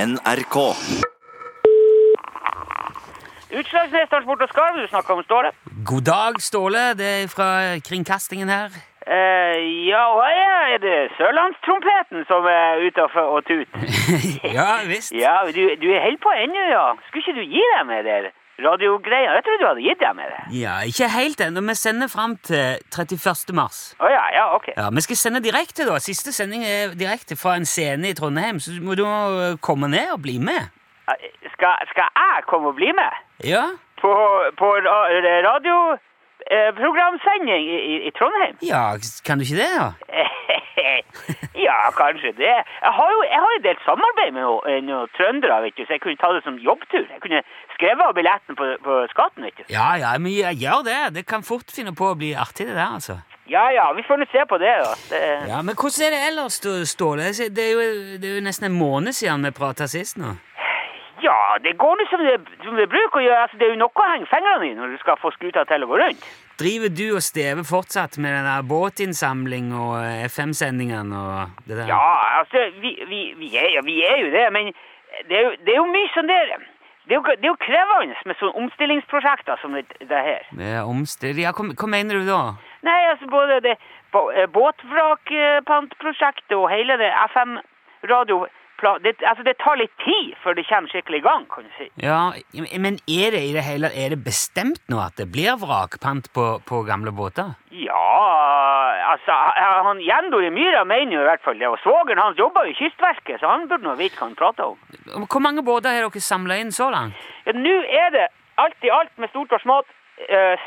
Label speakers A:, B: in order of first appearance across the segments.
A: NRK.
B: Utslagsnes Transport og Skarv, du snakker om Ståle.
C: God dag, Ståle. Det er fra kringkastingen her.
B: Eh, ja, og her er det Sørlandstrompeten som er ute og f- og tuter?
C: ja visst.
B: Ja, du, du er helt på ennå, ja. Skulle ikke du gi dem med det radiogreia? Jeg trodde du hadde gitt dem med det.
C: Ja, ikke helt ennå. Vi sender fram til 31. mars.
B: Å ja, ja, ok.
C: Ja, Vi skal sende direkte, da. Siste sending er direkte fra en scene i Trondheim, så du må du må komme ned og bli med.
B: Eh, Skal, skal jeg komme og bli med?
C: Ja?
B: På, på ra- radio... Eh, programsending i, i, i Trondheim?
C: Ja, kan du ikke det, da?
B: ja, kanskje det. Jeg har jo jeg har en del samarbeid med noen noen trøndere, vet du, så jeg kunne ta det som jobbtur. Jeg kunne skrevet av billetten på, på skatten, vet du.
C: Ja, ja, men jeg gjør det. Det kan fort finne på å bli artig, det der, altså.
B: Ja, ja, vi får nå se på det, da. Det,
C: Ja, Men hvordan er det ellers, Stå- Ståle? Det er jo, det er jo nesten en måned siden vi prata sist nå.
B: ja, det går nå som det, som det bruker å gjøre. Altså, det er jo noe å henge fingrene i når du skal få skuta til å gå rundt.
C: Driver du og stever fortsatt med den der båtinnsamling og FM-sendingene og det der?
B: Ja, altså, vi, vi, vi, er, ja, vi er jo det, men det er jo, det er jo mye sånn der Det er jo, det er jo krevende med sånne omstillingsprosjekter som det, det her.
C: Med omstil... Ja, hva, hva mener du da?
B: Nei, altså, både det bå- eh, båtvrakpantprosjektet og hele det FM-radio... Det, altså, det tar litt tid før det kommer skikkelig i gang, kan du si.
C: Ja, Men er det i det hele er det bestemt nå at det blir vrakpant på, på gamle båter?
B: Ja, altså, han Gjendor i Myra mener jo i hvert fall det, og svogeren hans jobber jo i Kystverket, så han burde nå vite hva han prater om.
C: Hvor mange båter har dere samla inn så langt?
B: Ja, Nå er det alt i alt med stort og smått eh,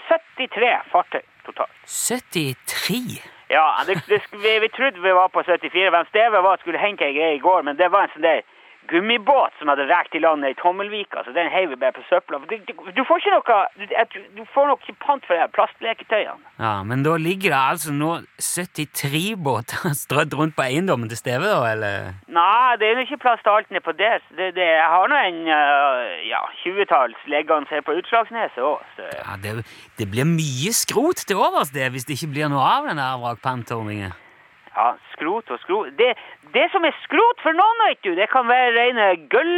B: 73 fartøy totalt.
C: 73?
B: Ja, det, det, sk- vi, vi trodde vi var på 74. Hvem Steve var skulle hente ei greie i går, men det var en sånn der gummibåt som hadde rekt i land nede i Tommelvika, så den heiv vi bare på søpla. Du, du, du får ikke noe du, jeg tror- du får nok ikke pant for de her plastleketøyene.
C: Ja, Men da ligger det altså nå 73 båter strødd rundt på eiendommen til Steve, da? eller?
B: Nei, det er jo ikke plass til alt ned på det. Så det, det jeg har nå en eh, ja, 20-talls liggende her på Utslagsneset òg.
C: Ja, det, det blir mye skrot til overs det, hvis det ikke blir noe av den der vrakpantordningen.
B: Ja, skrot og skrot det, det som er skrot for noen, vet du, det kan være rene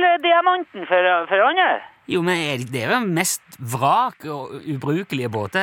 B: gulldiamanten for, for andre.
C: Jo, men er det, det er vel mest vrak og ubrukelige båter,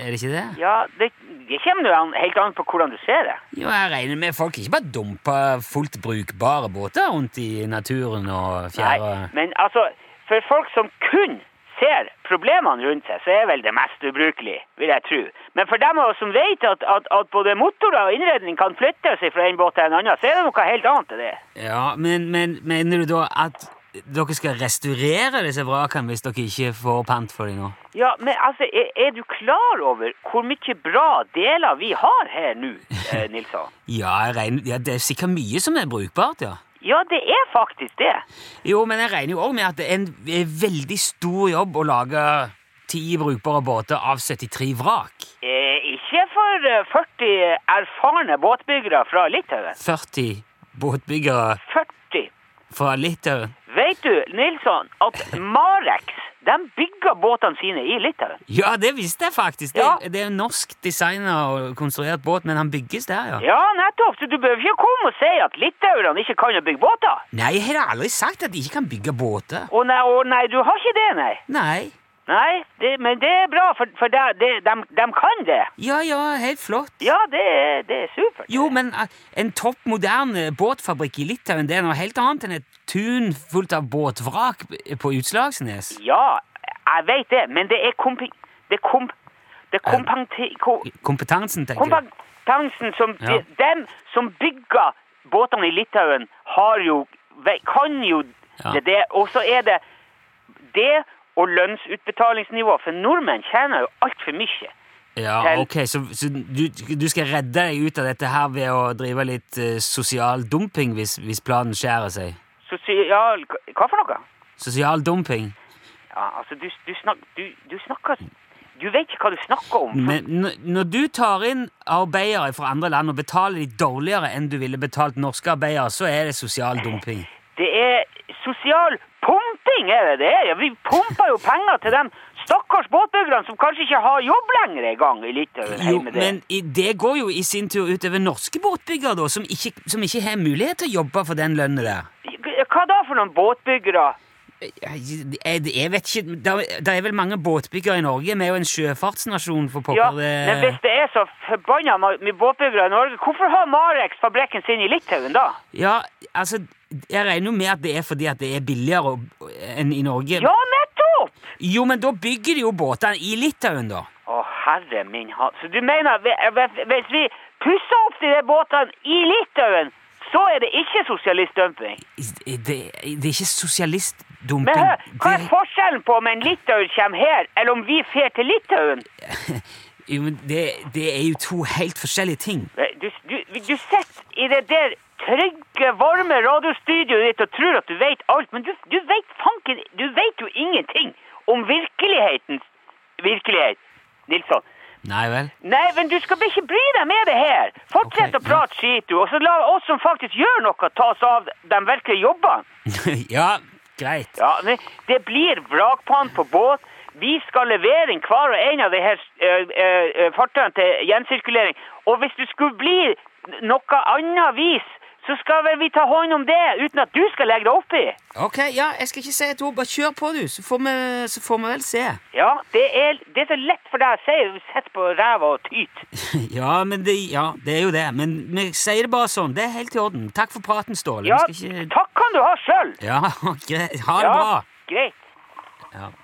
C: er det ikke det?
B: Ja, det, det kommer jo an, helt an på hvordan du ser det.
C: Jo, jeg regner med folk ikke bare dumper fullt brukbare båter rundt i naturen og fjæra.
B: men altså, for folk som kun ser problemene rundt seg, så er vel det mest ubrukelig, vil jeg tro. Men for dem av oss som vet at, at, at både motorer og innredning kan flytte seg fra en båt til en annen, så er det noe helt annet enn det.
C: Ja, men, men mener du da at dere skal restaurere disse vrakene hvis dere ikke får pant for dem nå?
B: Ja, men altså, er, er du klar over hvor mye bra deler vi har her nå, eh, Nilsson?
C: Ja, jeg regner, ja, det er sikkert mye som er brukbart, ja.
B: Ja, det er faktisk det.
C: Jo, men jeg regner jo òg med at det er en eh, veldig stor jobb å lage ti brukbare båter av 73 vrak.
B: Eh, ikke for eh, 40 erfarne båtbyggere fra Litauen.
C: 40 båtbyggere
B: 40.
C: fra Litauen.
B: Vet du, Nilsson, at Marex, de bygger båtene sine i Litauen.
C: Ja, det visste jeg faktisk. Det,
B: Ja.
C: det er en norsk designer og konstruert båt, men han bygges der, ja.
B: Ja, nettopp, så du behøver ikke komme og si at litauerne ikke kan å bygge båter.
C: Nei, jeg har aldri sagt at de ikke kan bygge båter.
B: Å nei, å nei, du har ikke det, nei.
C: Nei.
B: Nei, det, men det er bra, for, for det, det, de, de kan det.
C: Ja, ja, helt flott.
B: Ja, det, er- det er supert.
C: Jo, men eh, en topp moderne båtfabrikk i Litauen det er noe helt annet enn et tun fullt av båtvrak på Utslagsnes.
B: Ja, jeg vet det, men det er kompi... Det er komp... Det er kompanti... Ko,
C: Kompetansen, tenker jeg.
B: kompetansen som...
C: Ja.
B: de- Dem som bygger båtene i Litauen har jo... ve- Kan jo
C: Ja.
B: det, det. Og så er det det og lønnsutbetalingsnivå, for nordmenn tjener jo alt for mye.
C: Ja, ok, Så, så du, du skal redde deg ut av dette her ved å drive litt eh, sosial dumping hvis, hvis planen skjærer seg?
B: Sosial... Hva for noe?
C: Sosial dumping?
B: Ja, altså, du, du, snak, du, du snakker... Du vet ikke hva du snakker om. for-
C: Men n- når du tar inn arbeidere fra andre land og betaler de dårligere enn du ville betalt norske arbeidere, så er det sosial dumping.
B: Det er sosial pumping, er det det? er. Ja, vi pumper jo penger til dem stakkars båtbyggerne som kanskje ikke har jobb lenger engang i Litauen.
C: Jo,
B: hjemme der.
C: men i- det går jo i sin tur utover norske båtbyggere, da, som ikke, som ikke har mulighet til å jobbe for den lønna der.
B: Hva da for noen båtbyggere?
C: Jeg, jeg vet ikke Det er- det er vel mange båtbyggere i Norge. Vi er jo en sjøfartsnasjon, for pokker.
B: Ja,
C: Det-
B: men hvis det er så forbanna ma- mye båtbyggere i Norge, hvorfor har Marex fabrikken sin i Litauen da?
C: Ja, altså, jeg regner jo med at det er fordi at det er billigere å- enn i Norge.
B: Ja, nettopp!
C: Jo, men da bygger de jo båtene i Litauen, da.
B: Å, herre min hatt. Så du mener at vi- hvis vi pusser opp de der båtene i Litauen, så er det ikke sosialistdumping?
C: eh, Det, det er ikke
B: Men
C: sosialistdumping.
B: hør, hva er
C: Det-
B: forskjellen på om en litauer kommer her, eller om vi fer til Litauen?
C: Jo, men det, det er jo to helt forskjellige ting.
B: Du, du, du sitter i det der trygge, varme radiostudioet ditt og tror at du vet alt, men du, du vet fanken Du vet jo ingenting om virkelighetens virkelighet, Nilsson.
C: Nei vel?
B: Nei, men du skal ikke bry deg med det her. Fortsett
C: Ok,
B: å prate skit, du, og så la oss som faktisk gjør noe, ta oss av de virkelige jobbene.
C: ja, greit.
B: Ja, men det blir vrakpant på båt. Vi skal levere inn hver og en av de her eh, eh, fartøyene til gjensirkulering. Og hvis du skulle bli noe annet vis, så skal vel vi ta hånd om det, uten at du skal legge deg oppi.
C: Ok, ja, jeg skal ikke si et ord. Bare kjør på, du, så får vi, så får vi vel se.
B: Ja, det er, det er så lett for deg å si. Du sitter på ræva og tyter.
C: ja, men det, ja, det er jo det. Men vi sier det bare sånn. Det er helt i orden. Takk for praten, Ståle.
B: Ja,
C: Vi skal ikke
B: takk kan du ha sjøl.
C: Ja, greit. Ha det bra.
B: greit.
C: Ja.